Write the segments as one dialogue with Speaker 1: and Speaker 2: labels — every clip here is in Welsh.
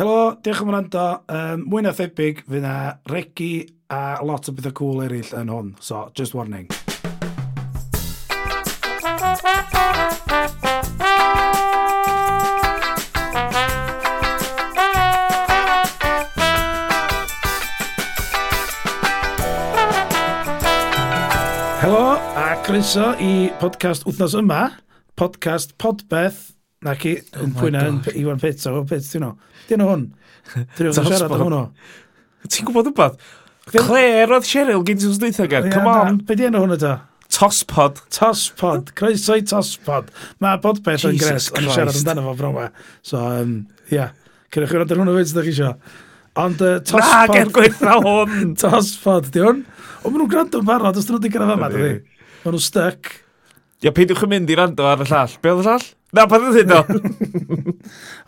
Speaker 1: Helo, diolch am wrando. Um, mwy na thebyg, fydd na regi a lot o bethau cool eraill yn hwn. So, just warning. Helo, a croeso i podcast wythnos yma, podcast Podbeth, nac i, yn
Speaker 2: Oh my
Speaker 1: pwyna,
Speaker 2: God.
Speaker 1: Iwan Pits, o Pits, ti'n o? Dyn o hwn? Dwi'n siarad am
Speaker 2: Tosbon.
Speaker 1: hwnnw.
Speaker 2: Ti'n gwybod wbeth? Claire oedd Cheryl gen ti'n dweithio gan.
Speaker 1: Ie,
Speaker 2: Come
Speaker 1: na,
Speaker 2: on.
Speaker 1: Be di enw hwnnw ta?
Speaker 2: Tospod.
Speaker 1: Tospod, croeso i Tospod. Mae Podbeth yn gres,
Speaker 2: Jesus
Speaker 1: ond siarad
Speaker 2: Christ.
Speaker 1: amdano fo bron yma. So, um, ia, cyrwch i rand ar hwnnw fyd, ydych chi isio. Ond uh,
Speaker 2: er Na,
Speaker 1: Tospod,
Speaker 2: ger gweithio hwn.
Speaker 1: Tospod, di hwn? O, maen nhw'n gwrando yn barod, os dyn nhw'n digwydd yma,
Speaker 2: Ydi.
Speaker 1: dydy. Maen nhw'n stuck.
Speaker 2: Ia, peidiwch yn mynd i rando ar y llall. Be oedd y llall? Na, pa ddyn nhw?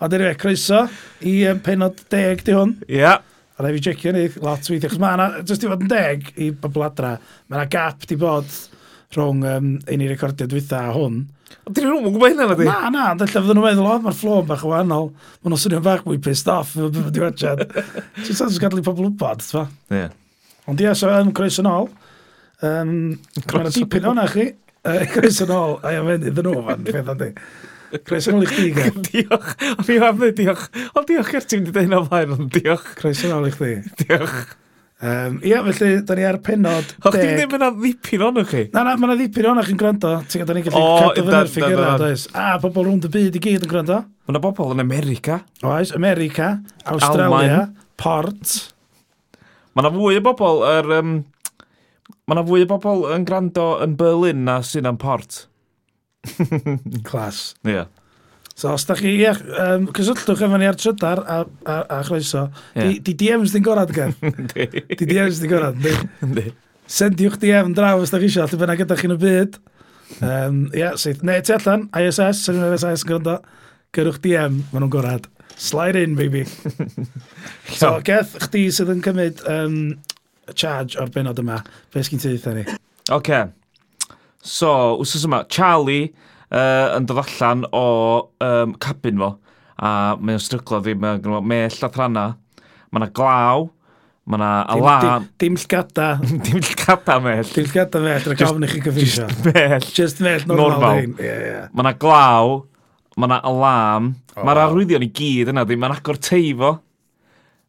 Speaker 1: Ond anyway, croeso i um, penod 10 di hwn.
Speaker 2: Ia.
Speaker 1: A rai fi jecio ni lot weithio. Chos mae yna, jyst i fod yn deg i bobl adra, mae yna gap di bod rhwng um, i ni recordio dwytha a hwn.
Speaker 2: Dyn nhw'n gwybod hynna, na di?
Speaker 1: Na, na, ond allaf fydden nhw'n meddwl, o, mae'r fflôn bach yn wahanol. Mae nhw'n swnio'n bach mwy pissed off efo beth wedi wachad. Ti'n sa'n gadael i pobl wybod, tfa.
Speaker 2: Ie.
Speaker 1: Ond ia, so um, croes yn ôl. Um, mae yna
Speaker 2: Croeso
Speaker 1: dipyn o'na chi. Uh, croes yn ôl, a ia, fe'n iddyn nhw fan, beth o'n di. Croes yn ôl i chdi, gael.
Speaker 2: Diolch. O, fi am dweud diolch. O, diolch ger ti'n dweud hynna o flaen, ond diolch.
Speaker 1: Croes yn ôl i chdi.
Speaker 2: Diolch.
Speaker 1: Um, ia, felly, da ni ar penod
Speaker 2: O, chdi
Speaker 1: 10.
Speaker 2: ddim yn amddipyn o'n chi?
Speaker 1: Na, na, mae yna ddipyn o'n chi'n gwrando. Ti'n gadael ni'n gallu
Speaker 2: O,
Speaker 1: cadw fyny'r
Speaker 2: yndan,
Speaker 1: ffigurau,
Speaker 2: yndan, yndan.
Speaker 1: does. A, pobl rwnd y byd i gyd yn gwrando.
Speaker 2: Mae yna bobl yn America.
Speaker 1: Oes, America, Australia,
Speaker 2: Almaen.
Speaker 1: Port.
Speaker 2: Mae yna fwy o bobl yr... Um, Mae yna fwy o bobl yn gwrando yn Berlin na sy'n am port.
Speaker 1: Clas.
Speaker 2: Ie. Yeah.
Speaker 1: So, os da chi, ie, um, cysylltwch efo ni ar trydar a, a, a chroeso. Di,
Speaker 2: Ie.
Speaker 1: di DMs di'n gorad, gan. Di DMs di'n gorad. Di. Sendiwch DM draw os da chi eisiau, lle bynnag gyda chi'n y byd. Um, ie, syth. Ne, ti allan, ISS, sy'n mynd ISS yn gwrando. Gyrwch DM, maen nhw'n gorad. Slide in, baby. So, geth chdi sydd yn cymryd um, charge o'r benod yma, beth sgyn ti ddeitha ni?
Speaker 2: OK. So, wsos yma, Charlie uh, yn dod allan o um, cabin fo, a mae'n stryglo ddim, mae'n gynnu fo mell a thrana, mae yna glaw, mae yna alarm,
Speaker 1: Dim, dim llgada,
Speaker 2: dim llgada mell,
Speaker 1: dim llgada mell, dwi'n gofyn i chi gyfeisio.
Speaker 2: mell.
Speaker 1: Just mell, normal.
Speaker 2: Normal.
Speaker 1: Normal. Ie, ie.
Speaker 2: Mae yna glaw, mae yna alarm, oh. mae'r arwyddion i gyd yna, ddim yn agor teifo,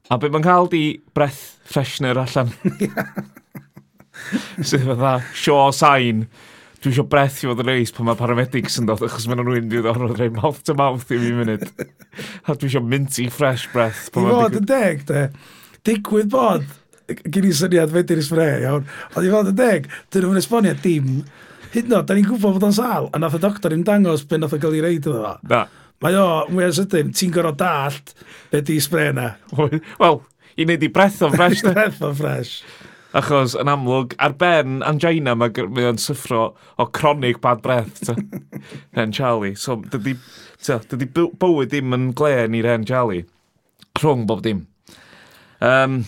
Speaker 2: a beth mae'n cael di breath freshener allan. Sydd fatha, sure sign. Dwi eisiau breath i fod yn reis pan mae paramedics yn dod, achos mae'n rhywun dwi'n dod o'r rhai mouth to mouth i fi munud. A dwi eisiau minty fresh breath
Speaker 1: I
Speaker 2: pan
Speaker 1: fod
Speaker 2: mae'n
Speaker 1: yn deg, de, digwydd bod, gen i syniad fedyn i sbre, iawn, ond i fod yn deg, dyn nhw'n esbonio dim, hyd yn oed, da ni'n gwybod bod o'n sal, a nath y doctor i'n dangos ben nath o gael ei reid iddo fo.
Speaker 2: Na.
Speaker 1: Mae o, mwy o sydyn, ti'n gorfod dallt be di sbre na.
Speaker 2: Wel, i wneud i breath o'n fresh. de.
Speaker 1: Breath o fresh.
Speaker 2: Achos yn amlwg, ar ben angina mae gy- mae o'n syffro o chronic bad breath, ta. Ren Charlie. So, dydy, ta, dydy byw- bywyd ddim yn glen i Ren Charlie. Rhwng bob dim. Um,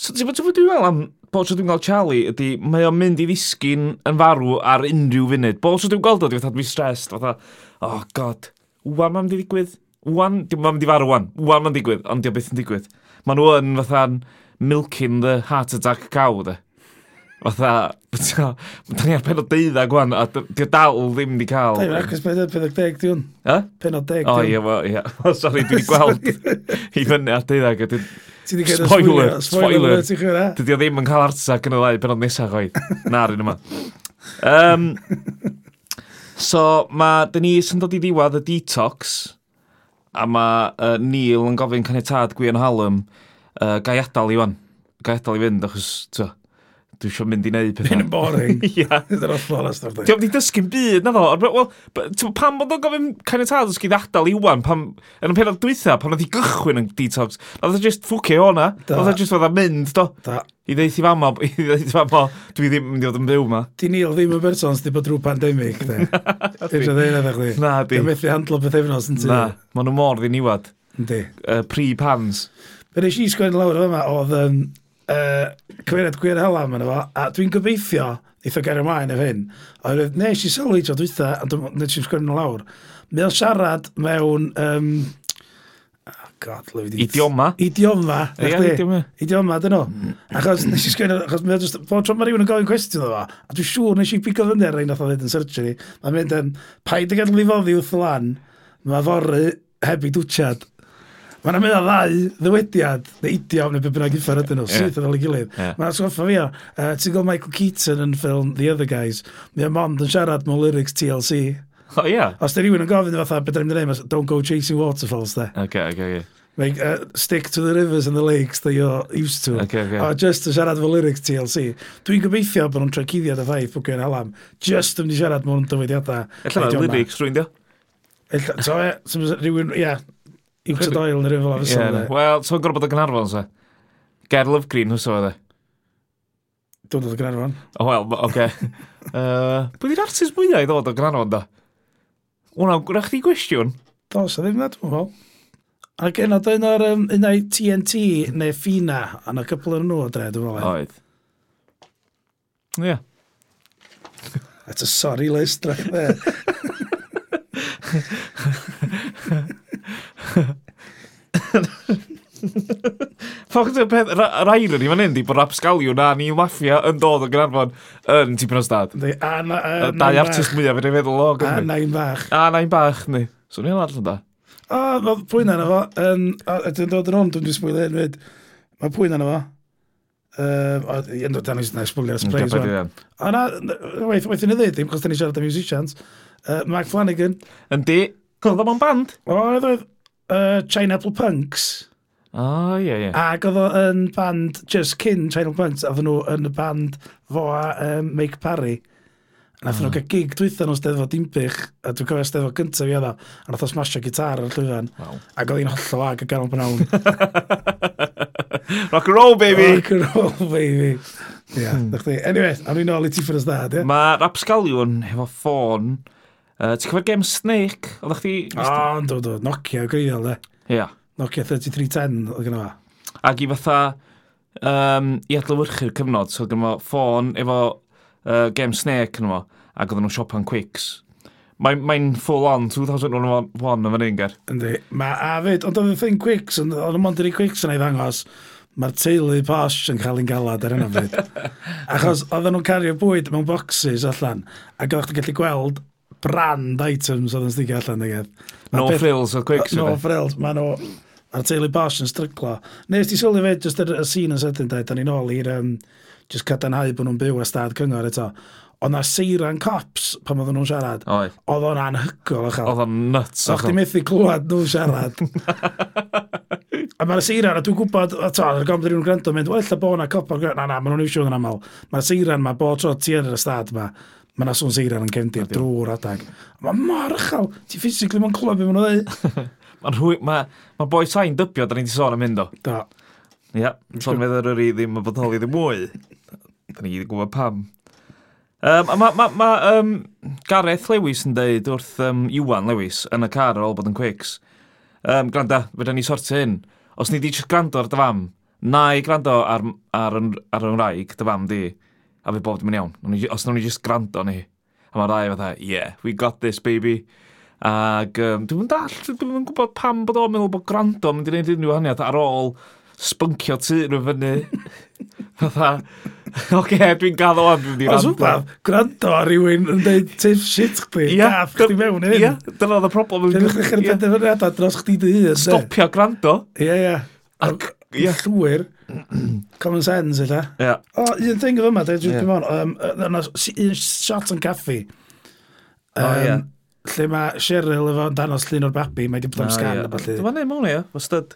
Speaker 2: so, ti'n bod dwi'n meddwl am bod tro dwi'n gweld Charlie ydy mae o'n mynd i ddisgyn yn farw ar unrhyw funud. Bod tro dwi'n gweld o, dwi'n fatha dwi'n stressed, fatha, oh god, wwan mae'n mynd i ddigwydd. Wwan, dim mae'n mynd i farw wwan. Wwan mae'n digwydd, ond dio beth yn digwydd. Mae nhw yn fatha'n milking the heart attack cow, de. Fatha, da ni ar pen o deuddag wan, a dy- dio dal ddim di cael.
Speaker 1: Dau fach, ysbryd yn 40 diwn,
Speaker 2: Eh?
Speaker 1: penod 10 diwn.
Speaker 2: O, ie, wel, ie. Sorry, dwi wedi gweld i fyny ar deuddag. a dwi-
Speaker 1: Ti di gael y
Speaker 2: Spoiler,
Speaker 1: spoiler, spoiler,
Speaker 2: spoiler.
Speaker 1: alert i chi hwnna.
Speaker 2: Dydy o ddim yn cael artsag yn y ddau benod nesaf chwaith. Na'r un yma. Um, so, mae Denise yn dod i ddiwedd y detox, a mae uh, Neil yn gofyn caniatad Gwion Hallam, uh, gai adal i wan. Gai adal i fynd, achos, twa, dwi eisiau mynd i wneud
Speaker 1: Pyn
Speaker 2: pethau.
Speaker 1: yn boring.
Speaker 2: Ia.
Speaker 1: Ydyn nhw'n fflol as dod.
Speaker 2: Dio'm di dysgu'n byd, na fo. Ond, Wel, b- t'mo', pam bod o'n gofyn caniatad os gyd adal i wan, pam, yn y penod dwytha, pam oedd hi gychwyn yn detox, oedd o just ffwcio o'na,
Speaker 1: Da.
Speaker 2: oedd o just oedd mynd, do.
Speaker 1: Da,
Speaker 2: I ddeithi fan ma, i ddeithi fan ma, dwi ddim yn mynd i fod yn byw ma.
Speaker 1: di Neil ddim yn berson sydd wedi bod drwy pandemig. Eisiau ddeun edrych chi.
Speaker 2: Na, di.
Speaker 1: Dwi'n methu handlo beth efnos yn ti.
Speaker 2: Na, maen nhw mor ddiniwad.
Speaker 1: Yndi.
Speaker 2: Uh, Pre-pans.
Speaker 1: Be nes i sgwennu lawr yma oedd um, uh, cymeriad gwir helam yna fo, a dwi'n gobeithio eitha gair ymlaen efo hyn. Oherwydd nes i sylwi tro dwytha, a dwi'n nes i sgwennu lawr, mae o'n siarad mewn... Um, god, lyfyd i.
Speaker 2: Idioma.
Speaker 1: Idioma.
Speaker 2: Ie,
Speaker 1: chdi.
Speaker 2: idioma.
Speaker 1: Idioma, dyn nhw.
Speaker 2: Mm.
Speaker 1: Achos, nes i sgwyn, achos mae o jyst, pob tro mae rhywun yn gofyn cwestiwn o fo, a dwi'n siŵr nes i bigo fynd ar ein nath o ddweud yn search ni, mae'n mynd yn, paid y gadw i foddi wrth y lan, mae fory heb i dwtiad. Mae'n mynd o ddau ddywediad, neu idiom, neu be bynnag uffar ydyn nhw,
Speaker 2: Ie.
Speaker 1: syth yn ôl i gilydd.
Speaker 2: Ie.
Speaker 1: Mae'n asgoffa fi o, uh, ti'n gweld Michael Keaton yn ffilm The Other Guys, mae'n mond yn siarad mewn lyrics TLC.
Speaker 2: O, ie.
Speaker 1: Os da rhywun yn gofyn fatha, beth rydym yn ei wneud, don't go chasing waterfalls, de.
Speaker 2: Oce, oce, oce.
Speaker 1: Like, uh, stick to the rivers and the lakes that you're used to.
Speaker 2: Oce, oce.
Speaker 1: O, just yn siarad fo lyrics TLC. Dwi'n gobeithio bod nhw'n trecuddiad y ffaith bod gwyn alam. Just yn mynd i siarad mewn dywediadau.
Speaker 2: Ella na lyrics rwy'n dio.
Speaker 1: Ella, so e, sy'n mynd rhywun, ia, Iwta Doyle neu rhywun fel
Speaker 2: Ie,
Speaker 1: afysol.
Speaker 2: na.
Speaker 1: de.
Speaker 2: Wel, so'n gorfod bod yn Gynarfon, se. Ger Love Green, hwso fe.
Speaker 1: Dwi'n dod o Granarfon.
Speaker 2: O, wel, ma- oce. Yy, Pwy di'r artist mwyaf i ddod o Gynarfon, da? Wna, gwna chdi gwestiwn?
Speaker 1: Dos, a ddim na, dwi'n fel. Ac yna, dyn o'r um, unau TNT neu Fina, a na cwpl yn nhw o dre, dwi'n e. fel.
Speaker 2: Oedd. Ie.
Speaker 1: That's a sorry list, right there.
Speaker 2: Ffoch ti'n peth, yr air yn i fan hyn, di bod Rapsgaliw na Neil Mafia yn dod o Gynarfon yn Tipyn o Stad.
Speaker 1: Deu, A na,
Speaker 2: Y
Speaker 1: a
Speaker 2: Dau
Speaker 1: nain
Speaker 2: artist
Speaker 1: bach.
Speaker 2: mwyaf fyddi'n feddwl o
Speaker 1: A
Speaker 2: Gymru.
Speaker 1: nain bach.
Speaker 2: A na'n bach, ni. Swn i'n arall yn da.
Speaker 1: O, mae pwy'n arno fo, yn, a- a dwi'n dod yn ond, dwi'n sbwylio hyn fyd, mae pwy'n arno fo, yym, o, yn dod dan i'n sbwylio ar
Speaker 2: Oce,
Speaker 1: sprays
Speaker 2: be'
Speaker 1: o'n.
Speaker 2: di hwn?
Speaker 1: O na, waith, waith i'n ei ddim, cos da ni siarad am musicians, Yy, Mark Flanagan,
Speaker 2: Yndi. Oedd o'n band?
Speaker 1: o, oedd oedd yy, China Apple Punks,
Speaker 2: O, ie, ie.
Speaker 1: ac oedd o yn band just cyn China Apple Punks, a oedden nhw yn y band fo a um, Make Parry. A nath nhw gael gig dwython nhw'n steddfod dimbych, a dwi'n cofio steddfod gyntaf i oedd o, a nath o smasho gitar ar y llwyfan,
Speaker 2: Wow.
Speaker 1: ac oedd hi'n hollol ag y ganol bnawn.
Speaker 2: Rock and roll, baby!
Speaker 1: Rock and roll, baby. Hmm. Ia, na chdi. Anyway, awn ni nôl i ti ffyr ysdad, ia?
Speaker 2: Mae Rapsgaliwn efo ffôn. Uh, Ti'n cofio'r gem Snake? Oeddech chdi...
Speaker 1: O, do, do, Nokia o greiddiol, de.
Speaker 2: Ia.
Speaker 1: Nokia 3310 oedd gyda fa.
Speaker 2: Ac i fatha... Um, I adlywyrchu'r cyfnod, so oedd gyda ffôn efo uh, gem Snake yn fo, ac oedden nhw'n siopan Quicks. Mae'n mae'n full on 2001 yn fan hyn, ger.
Speaker 1: Yndi. Ma, a fyd, ond oedd y thing Quicks, ond oedd y Mondery Quicks yn ei ddangos, mae'r teulu posh yn cael ein galad ar yna fyd. Achos oedden nhw'n cario bwyd mewn boxes allan, ac oeddech chi'n gallu gweld brand items oedd yn stigio allan, degedd.
Speaker 2: No frills o Quicks.
Speaker 1: No
Speaker 2: No.
Speaker 1: frills, mae nhw... Mae'r teulu Bosch yn stryglo. Nes ti sylwi fyd, jyst yr y scene yn sydyn, da, da ni'n ôl i'r... Um, jyst cadarnhau bod nhw'n byw a stad cyngor eto. Ond na seiran cops pan oedden nhw'n siarad.
Speaker 2: Oedd.
Speaker 1: Oedd o'n anhygol o chael.
Speaker 2: Oedd o'n nuts.
Speaker 1: So chdi
Speaker 2: oedd o.
Speaker 1: methu clywed nhw siarad. a mae'r seiran, a dwi'n gwybod, a to, ar gofod rhywun gwrando, yn mynd, wella bo na cop o'r gwrando. Na, na, maen nhw'n iwsio yn aml. Mae'r seiran ma, bo tro ti yn yr ystad ma, mae na swn seiran yn cefndir drwy'r adag. Mae mor ychel, ti physically ma'n clywed beth maen nhw'n dweud.
Speaker 2: Mae'n rhwy... Mae ma boi sain dybio, da ni'n di sôn am mynd o.
Speaker 1: Do.
Speaker 2: Ia, so meddwl yr i ddim yn bodoli ddim mwy. Da ni ddim gwybod pam. Um, a mae ma, ma, um, Gareth Lewis yn deud wrth um, Iwan Lewis yn y car ar ôl bod yn Quicks. Um, granda, fydda ni sortio hyn. Os ni di just grando ar dy fam, na i grando ar, ar, yn- ar yn raig, dy fam di, a fe bob dim yn iawn. Nawn ni- Os nawn ni just grando ni. A mae'r rai fatha, yeah, we got this, baby. Ac um, dwi'n dall, dwi'n yn gwybod pam bod o'n meddwl bod grando yn mynd i wneud unrhyw haniad ar ôl spyncio tu nhw fyny. Fatha, oce, okay, dwi'n gaddo o'n dwi'n di
Speaker 1: Os
Speaker 2: rando.
Speaker 1: wbeth, gwrando ar rywun yn dweud tip shit chdi,
Speaker 2: Ie,
Speaker 1: gaff chdi mewn i
Speaker 2: Ie,
Speaker 1: hyn.
Speaker 2: dyna oedd y problem.
Speaker 1: Dwi'n ddechrau
Speaker 2: Ie,
Speaker 1: penderfyniadau dros chdi dy hun. de.
Speaker 2: Stopio grando.
Speaker 1: Ie, ie.
Speaker 2: Ac,
Speaker 1: Ie,
Speaker 2: ie.
Speaker 1: llwyr. Common sense, illa.
Speaker 2: Ie,
Speaker 1: O, un thing o fyma, dwi'n
Speaker 2: Ie.
Speaker 1: dwi'n mewn, yym, yy, yna s- un shot yn caffi.
Speaker 2: O, ie.
Speaker 1: Yym, Lle mae Cheryl efo yn danos llun o'r babi, mae wedi bod am sgan a balli.
Speaker 2: Dwi'n mynd mewn i, o, styd.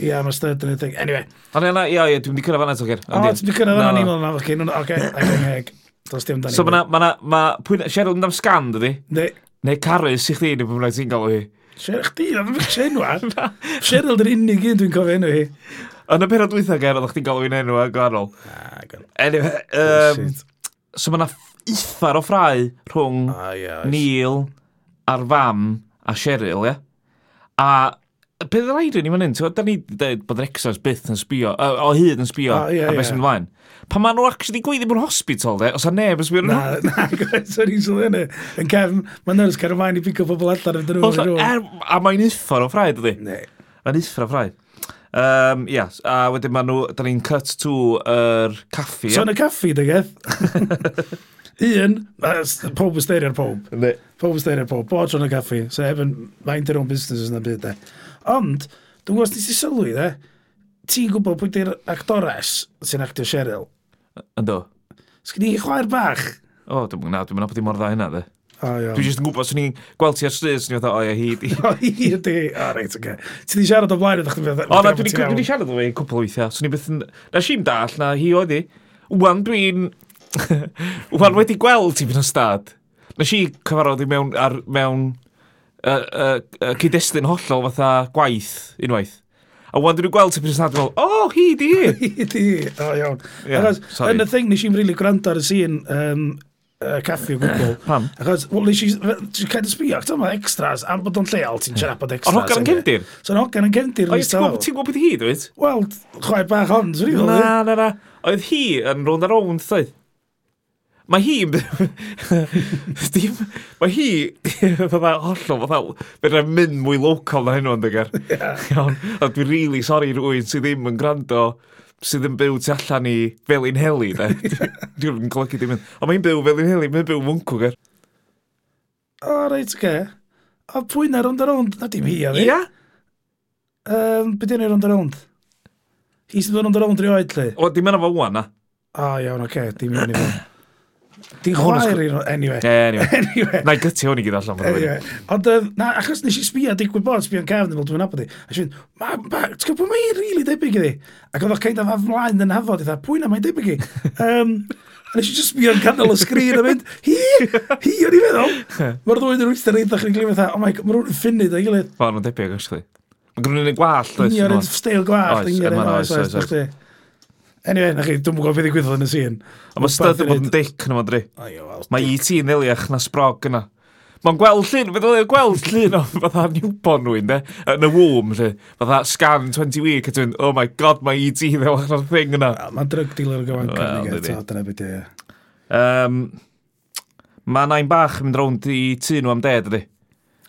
Speaker 1: Ie, mae styd yn y thing. Anyway,
Speaker 2: Ond yna, ie, ie, dwi'n di cyrra fan eto, ger.
Speaker 1: o, ti'n cyrraedd
Speaker 2: Na,
Speaker 1: yna'n
Speaker 2: na.
Speaker 1: email yna, felly, oce, ac yn heg. Does dim dan i.
Speaker 2: So mae'na, mae'na, mae, pwy, na- Cheryl yn am sgan, dydi?
Speaker 1: Ne,
Speaker 2: Neu Carys i chdi, neu pwy bynnag ti'n galw hi.
Speaker 1: Cheryl, chdi, na ddim yn eh? chenwa. Cheryl, dy'r unig un dwi'n cofio enw hi.
Speaker 2: Yn y perod dwytha, ger, oeddech chdi'n galw hi'n enw a gwahanol.
Speaker 1: Ah, gan.
Speaker 2: Anyway,
Speaker 1: Oh,
Speaker 2: um, so mae'na uffar o ffrau rhwng
Speaker 1: Ah,
Speaker 2: Neil a'r fam a Cheryl, ie? A beth yr air yn i fan hyn, ti'n gwbod, da ni 'di dweud bod yr exos byth yn sbio, o, o hyd yn sbio
Speaker 1: O, ie,
Speaker 2: ar
Speaker 1: ie.
Speaker 2: beth sy'n mynd ymlaen. Pan maen nhw actually gweithio mewn hospital, de, os a neb yn sbio ar
Speaker 1: Na,
Speaker 2: nhw.
Speaker 1: na, sorry, i'n sylwi hynny. Yn cefn, mae nurse cael ymlaen i bigo pobl allan yn dyn nhw'n
Speaker 2: Os-
Speaker 1: rhywun.
Speaker 2: er- A mae'n uffar o ffraid, ydy.
Speaker 1: Ne.
Speaker 2: Yn uffra fraidd. Um, ia, yes, a wedyn maen nhw, da ni'n cut to yr er caffi.
Speaker 1: So yn y caffi, dy geth. Un, a s- pob ystyried pob.
Speaker 2: Ne.
Speaker 1: Pob ystyried pob. Bod yn y caffi. So efo, mae'n their own businesses yn y byd, e, de. Ond, dwi'n gwybod nes i sylwi, de. Ti'n gwybod pwy di'r actores sy'n actio Cheryl.
Speaker 2: Ynddo.
Speaker 1: Sgyn i chwaer bach.
Speaker 2: O, dwi'n gwybod, dwi'n gwybod mor dda hynna, dde.
Speaker 1: O, iawn.
Speaker 2: Dwi'n just yn gwybod, swn i'n gweld ti ar stryd, swn i'n fatha, o, ia, hi, di.
Speaker 1: O, i di. O, reit, oce. Ti di siarad o blaen ydych chi'n
Speaker 2: O, na, dwi'n dwi 'di siarad o fe cwpl o weithiau. Swn i beth yn... Na si'n dall, na hi oedd hi. Wan, dwi'n... Wan wedi gweld ti fy'n ystad. Na si cyfarfod i mewn... Ar, mewn uh, uh, uh, cyd-destun hollol fatha gwaith, unwaith. A wan, dwi'n gweld ti fy'n ystad, dwi'n meddwl, o, hi, di hi.
Speaker 1: I di. O, iawn.
Speaker 2: Ie,
Speaker 1: Achos,
Speaker 2: sorry.
Speaker 1: yn y thing, nes i'n rili gwrando ar y sîn um, uh, caffi o gwbl.
Speaker 2: Pam?
Speaker 1: Achos, wel, nes i'n cael sbio, ac dyma extras, am bod o'n lleol, ti'n siarad bod extras.
Speaker 2: Ond hogan yn
Speaker 1: ynde?
Speaker 2: cefndir.
Speaker 1: So, yn hogan yn cefndir,
Speaker 2: O, ie,
Speaker 1: nes
Speaker 2: Ti'n gwybod-
Speaker 1: ti.
Speaker 2: ti'n gwybod beth i hi, dwi'n
Speaker 1: Wel, chwaer bach ond, dwi'n meddwl.
Speaker 2: Na, na, na. Oedd hi yn round a round, doedd. Mae hi... Dim... Mae hi... Fydda hollol, fydda... Fydda mynd mwy local na hyn o'n dygar. Iawn. A dwi'n really sorry rwy'n sydd ddim yn gwrando sydd yn byw tu allan i Felin Heli, de. Dwi'n golygu ddim yn... O, mae'n byw Felin Heli, mae'n byw Mwncwgar.
Speaker 1: O, reit, oce. O, pwy na rond a rond? Na dim hi, a ddi.
Speaker 2: Ia?
Speaker 1: Um, Be di'n ei rond a rond? Hi sy'n dod rond a rond rioed, lle?
Speaker 2: O, dim yna fo wan, na.
Speaker 1: O, iawn, oce, dim yn i fo. Di'n
Speaker 2: hwn
Speaker 1: chwaer i, ro- anyway.
Speaker 2: Anyway.
Speaker 1: Anyway.
Speaker 2: Na i gytio hwn i gyd allan.
Speaker 1: Anyway,
Speaker 2: Anyway.
Speaker 1: Ond, yym, na, achos nes i sbio, digwydd bod, sbio'n cefn, fel dwi'n nabod i. A siw'n, ma, ma, ti'n gwybod pwy mae'n rili debyg iddi? Ac oedd o'ch kind of aflaen yn hafod, i dda, pwy na mae'n debyg i? Um, a nes i just sbio'n canol y sgrin a mynd, hi, hi, o'n i feddwl. Mae'r ddwy'n yn wyth ar eithaf chi'n glyfod dda, oh my god, mae rhywun yn ffinid o'i gilydd.
Speaker 2: Mae'n debyg, actually. Mae'n gwneud yn gwall, does.
Speaker 1: Union yn
Speaker 2: Ond
Speaker 1: steil gwallt,
Speaker 2: Oes,
Speaker 1: union
Speaker 2: yn
Speaker 1: yn
Speaker 2: fan'na,
Speaker 1: oes, oes,
Speaker 2: oes, oes,
Speaker 1: oes, Anyway, na chi, dwi'n gwybod beth i gwythod yn y sîn.
Speaker 2: mae stud yn bod yn dic yn y modri. Mae
Speaker 1: Mae
Speaker 2: i ti yn ddiliach na sprog yna. Mae'n gweld llun, fe ddiliach gweld llun o fatha newborn rwy'n de, yn y womb lle, fatha scan 20 week, a dwi'n, oh my god, mae i ti ddiliach na'r thing yna.
Speaker 1: Mae'n drug dealer o gyfan
Speaker 2: Wel,
Speaker 1: cynnig
Speaker 2: dydi.
Speaker 1: eto, dyna e. beth i. ie.
Speaker 2: Um, mae nain bach yn mynd rownd i tŷ nhw am ded, ydy.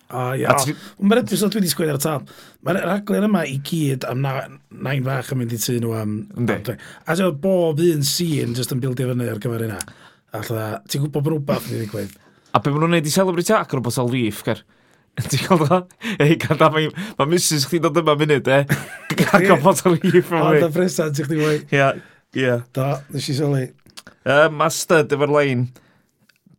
Speaker 1: O, ia.
Speaker 2: A ti-
Speaker 1: Mae'r episod dwi wedi sgwyd ar y tab. Mae'r raglen yma i gyd am na, nain fach yn mynd i tu nhw am...
Speaker 2: Yndi.
Speaker 1: am dre- A ti'n gwbod bob un scene just yn bildio fyny ar gyfer yna. A lla, ti'n gwybod bod rhywbeth yn ei ddigwydd.
Speaker 2: A be maen nhw'n neud i celebrity ac yn botol reef, ger. Ti'n gweld o? Ei, gada, mae ma Mrs. chdi dod yma munud, e. Ac yn botol reef
Speaker 1: O,
Speaker 2: am
Speaker 1: da
Speaker 2: fi.
Speaker 1: ffresa, ti'n chdi wei.
Speaker 2: Ia, ia.
Speaker 1: Do, nes i sylwi.
Speaker 2: Yy, Mae stud efo'r lein.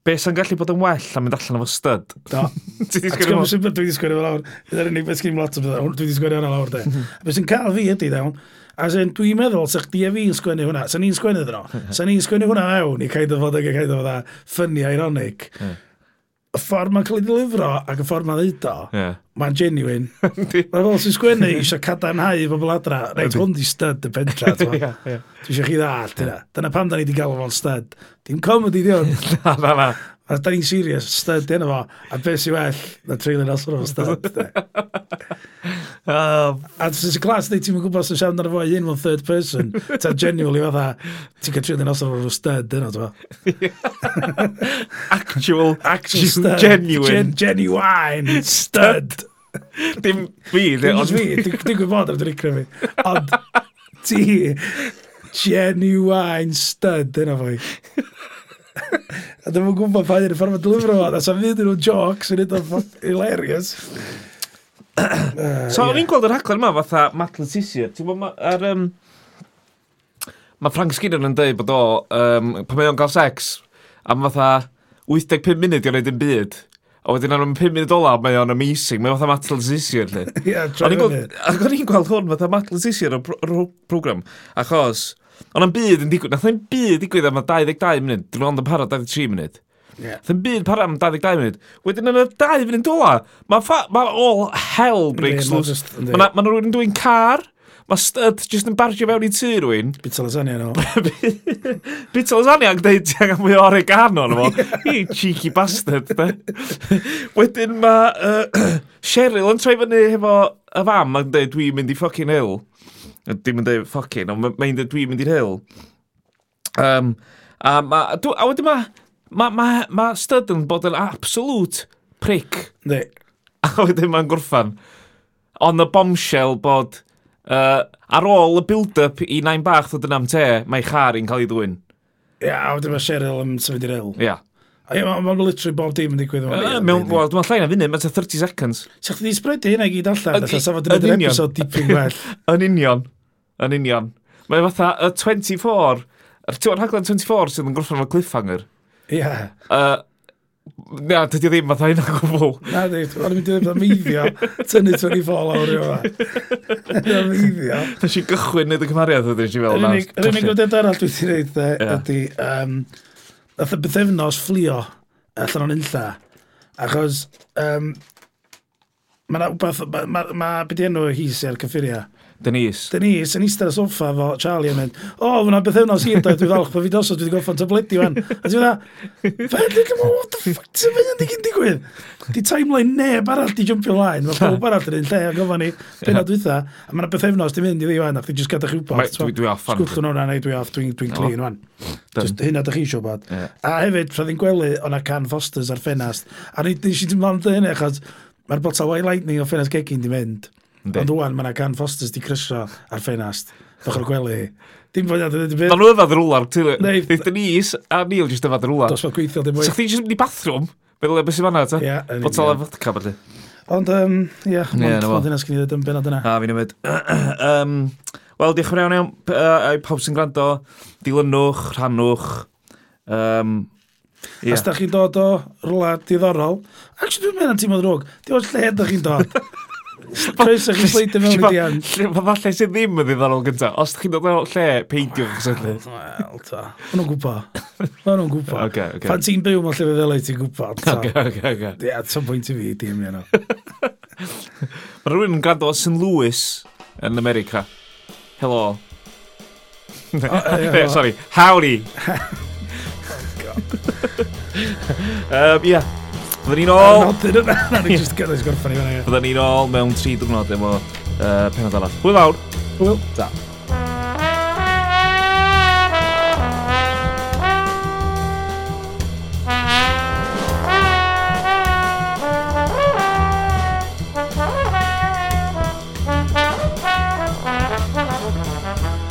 Speaker 2: Be sy'n gallu bod yn well am mynd allan efo stud?
Speaker 1: Do.
Speaker 2: Ti
Speaker 1: A
Speaker 2: di
Speaker 1: ti'n
Speaker 2: sgwennu
Speaker 1: gwybod
Speaker 2: fo?
Speaker 1: sy'n dwi wedi sgwyd ar lawr. Ydy'r unig beth sgwyd lot o beth. Dwi wedi sgwyd ar lawr, de.
Speaker 2: Hmm.
Speaker 1: A beth sy'n cael fi ydy, dawn. A sy'n, dwi'n meddwl, sa'ch di a fi'n sgwennu hwnna. Sa'n ni'n sgwennu ddyn nhw.
Speaker 2: Hmm.
Speaker 1: Sa'n ni'n sgwennu hwnna mewn i cael dyfod ag i cael dyfod a ffynnu ironic.
Speaker 2: Hmm.
Speaker 1: Y ffordd mae'n cael ei ddilifro ac y ffordd mae'n ddeud o,
Speaker 2: Ie.
Speaker 1: mae'n genuine.
Speaker 2: Hmm. Yndi.
Speaker 1: Mae'n fel sy'n sgwennu eisiau cadarnhau i bobl adra. Reit, hwn di stud y pentra. Dwi
Speaker 2: Ie, ie.
Speaker 1: eisiau chi ddall,
Speaker 2: Hmm.
Speaker 1: dyna. Dyna pam da ni wedi galw fo'n stud. Dim comedy di hwn.
Speaker 2: Na, na, na.
Speaker 1: A da ni'n serious, stud di yna fo. A beth sy'n well, na treulio'n osod o'n stud. de.
Speaker 2: Um,
Speaker 1: A sy'n sy'n glas, ti'n mynd gwybod sy'n siarad ar y fo i un mewn third person. Ta genuinely fatha, ti'n cael treulio'n osod o'n stud dyna, ti'n fo.
Speaker 2: Actual,
Speaker 1: Actual
Speaker 2: actual,
Speaker 1: stud.
Speaker 2: genuine.
Speaker 1: Gen- Genuine stud.
Speaker 2: Dim fi, de,
Speaker 1: Ond
Speaker 2: ond
Speaker 1: fi, dwi'n dwi gwybod am dwi'n icro fi. Ond ti, genuine stud yna fwy. A dwi'n gwybod pa un y ffordd mae'n dylifro fo. A sa'n fydd nhw jocs yn edrych hilarious.
Speaker 2: So, o'n i'n gweld yr rhaglen yma fatha Matt Letizia. Ti'n bod ma- ar... Um, mae Frank Skinner yn dweud bod o, um, pan mae o'n cael sex, am fatha 85 munud i o'n neud yn byd. A wedyn am 5 munud ola, mae o'n amazing. Mae fatha Matt Letizia, lle.
Speaker 1: Ia,
Speaker 2: O'n
Speaker 1: troi
Speaker 2: i'n
Speaker 1: fyny.
Speaker 2: gweld, ac o'n i'n gweld hwn fatha Matt Letizia o'r program, achos, o'n am byd yn digwydd, nath o'n byd digwydd am y 22 munud, dwi'n ond yn para 23 munud.
Speaker 1: Ie.
Speaker 2: Nath o'n byd para am 22 munud. Wedyn yn y 2 munud dola, mae fa, ma all hell breaks
Speaker 1: Yndi, ma'
Speaker 2: loose.
Speaker 1: jyst- yndi.
Speaker 2: Mae ma rhywun yn dwi'n car, mae stud just yn bargio fewn i tŷ rhywun.
Speaker 1: Bits o lasagna nhw.
Speaker 2: Bit o lasagna ac dweud ti angen mwy o oregano yn efo. Hi, cheeky bastard. De. Wedyn mae uh, Cheryl yn troi fyny hefo y fam ac dweud dwi'n mynd i ffocin hill. Dim yn dweud ffocin, ond ma- mae'n dweud dwi'n mynd i'r hill. Um, a, ma, dw- a wedyn mae ma, ma, ma Stud yn bod yn absolute prick.
Speaker 1: Ne,
Speaker 2: A wedyn mae'n gorffan. on y bombshell bod uh, ar ôl y build-up i nain bach ddod yn am te, mae char i'n cael ei ddwyn.
Speaker 1: Ia, a wedyn mae Cheryl yn sefyd i'r el.
Speaker 2: Ia.
Speaker 1: Ia, ma- mae'n literally bob dim yn digwydd.
Speaker 2: Yy, Mewn, wel, dwi'n llai na funud, mae'n 30 seconds.
Speaker 1: Sa chdi sbredu hynna i gyd allan,
Speaker 2: Ydi-
Speaker 1: fatha sa fod yn
Speaker 2: yn
Speaker 1: edrych
Speaker 2: union.
Speaker 1: episod dipyn gwell.
Speaker 2: Yn union. Yn union. Mae fatha y 24, yr ti'n rhaglen 24 sydd yn gorffen o'r cliffhanger.
Speaker 1: Ia.
Speaker 2: Uh, na, dydy o ddim fatha hynna gwbl.
Speaker 1: Na, di, o'n i'n mynd i ddweud meiddio, tynnu 24 lawr i yma. Meiddio.
Speaker 2: Nes i gychwyn neud y cymariad ydyn nes i fel.
Speaker 1: Yr
Speaker 2: na,
Speaker 1: unig yr unig
Speaker 2: colli.
Speaker 1: gwrdd arall dwi wedi gwneud
Speaker 2: Ie.
Speaker 1: ydy, um, nath y bythefnos fflio allan o'n unlla, achos um, mae yna wbeth, mae ma, ma, beth i enw hi sy'n cyffuriau.
Speaker 2: Denise.
Speaker 1: Denise yn eistedd y soffa fo Charlie yn mynd, o, oh, fyna bythefnos hir doedd, dwi'n falch, bod fi dosod, dwi wedi gorffan tabledi wan. A dwi'n dda, Fedri, come on, what the fuck, ti'n mynd i gyn digwydd? Di timeline neb arall di jumpio line, mae pob arall yn un lle, a gofyn ni, penod dwitha, a mae yna bythefnos di mynd i ddi wan, a chdi jyst gada'ch
Speaker 2: Mae-
Speaker 1: rhywbeth.
Speaker 2: Dwi dwi off fan.
Speaker 1: Sgwllwn hwnna neu dwi off, dwi'n dwi
Speaker 2: O.
Speaker 1: clean wan. Just hynna dych chi eisiau bod.
Speaker 2: Ie.
Speaker 1: A hefyd, roedd i'n gwely o'na can Fosters ar ffenast. A ni nes i ddim ond hynny, achos mae'r botel White Lightning o ffenast gegin di mynd.
Speaker 2: Yndi.
Speaker 1: Ond wwan, mae'na can Fosters di crysio ar ffenast. Ddech o'r gwely. Dim fod i'n dweud y
Speaker 2: Da
Speaker 1: byd.
Speaker 2: nhw yfad rwla.
Speaker 1: Neu-
Speaker 2: Neith Denise a Neil jyst yfad rwla.
Speaker 1: Dos fod gweithio dim
Speaker 2: Sa
Speaker 1: mwy.
Speaker 2: chdi jyst mynd i bathroom? Meddwl e beth sy'n fanna, ta?
Speaker 1: Ie, yn
Speaker 2: Botel
Speaker 1: union.
Speaker 2: o vodka, byddu.
Speaker 1: Ond, yym, ie,
Speaker 2: na
Speaker 1: mond
Speaker 2: fo.
Speaker 1: mond hynna sgen i ddweud yn benod yna.
Speaker 2: A fi'n ymwyd. um, Wel, diolch yn iawn iawn. p- yy, i pawb sy'n gwrando, dilynwch, rhannwch. Um,
Speaker 1: Yeah.
Speaker 2: yeah.
Speaker 1: Os da chi'n dod o rwla diddorol, actually dwi'n meddwl am tîm o ddrwg, di o'r lle da chi'n dod. Croeso chi'n sleidio mewn i dian.
Speaker 2: Lle mae falle sydd ddim yn ddiddorol gyntaf. Os ydych chi'n dod o lle, peidiwch sydyn.
Speaker 1: Wel, ta. Maen nhw'n gwybod. Maen nhw'n gwybod.
Speaker 2: Oce, oce.
Speaker 1: Pan ti'n byw mewn llefydd fel ei ti'n gwybod. ta.
Speaker 2: Oce, oce, oce.
Speaker 1: Ie, at some point i fi, dim yna.
Speaker 2: Mae rhywun yn gwrando o St Louis yn America. Helo.
Speaker 1: ie,
Speaker 2: Eh, Sorry, howdy. um, yeah. Fyddwn ni'n ôl.
Speaker 1: Nodyn yna, na ni jyst gyda'i gorffan i fyna.
Speaker 2: Fyddwn ni'n ôl mewn tri diwrnod efo uh, penod arall. Hwyl fawr.
Speaker 1: Wel,
Speaker 2: Da.
Speaker 3: Thank you.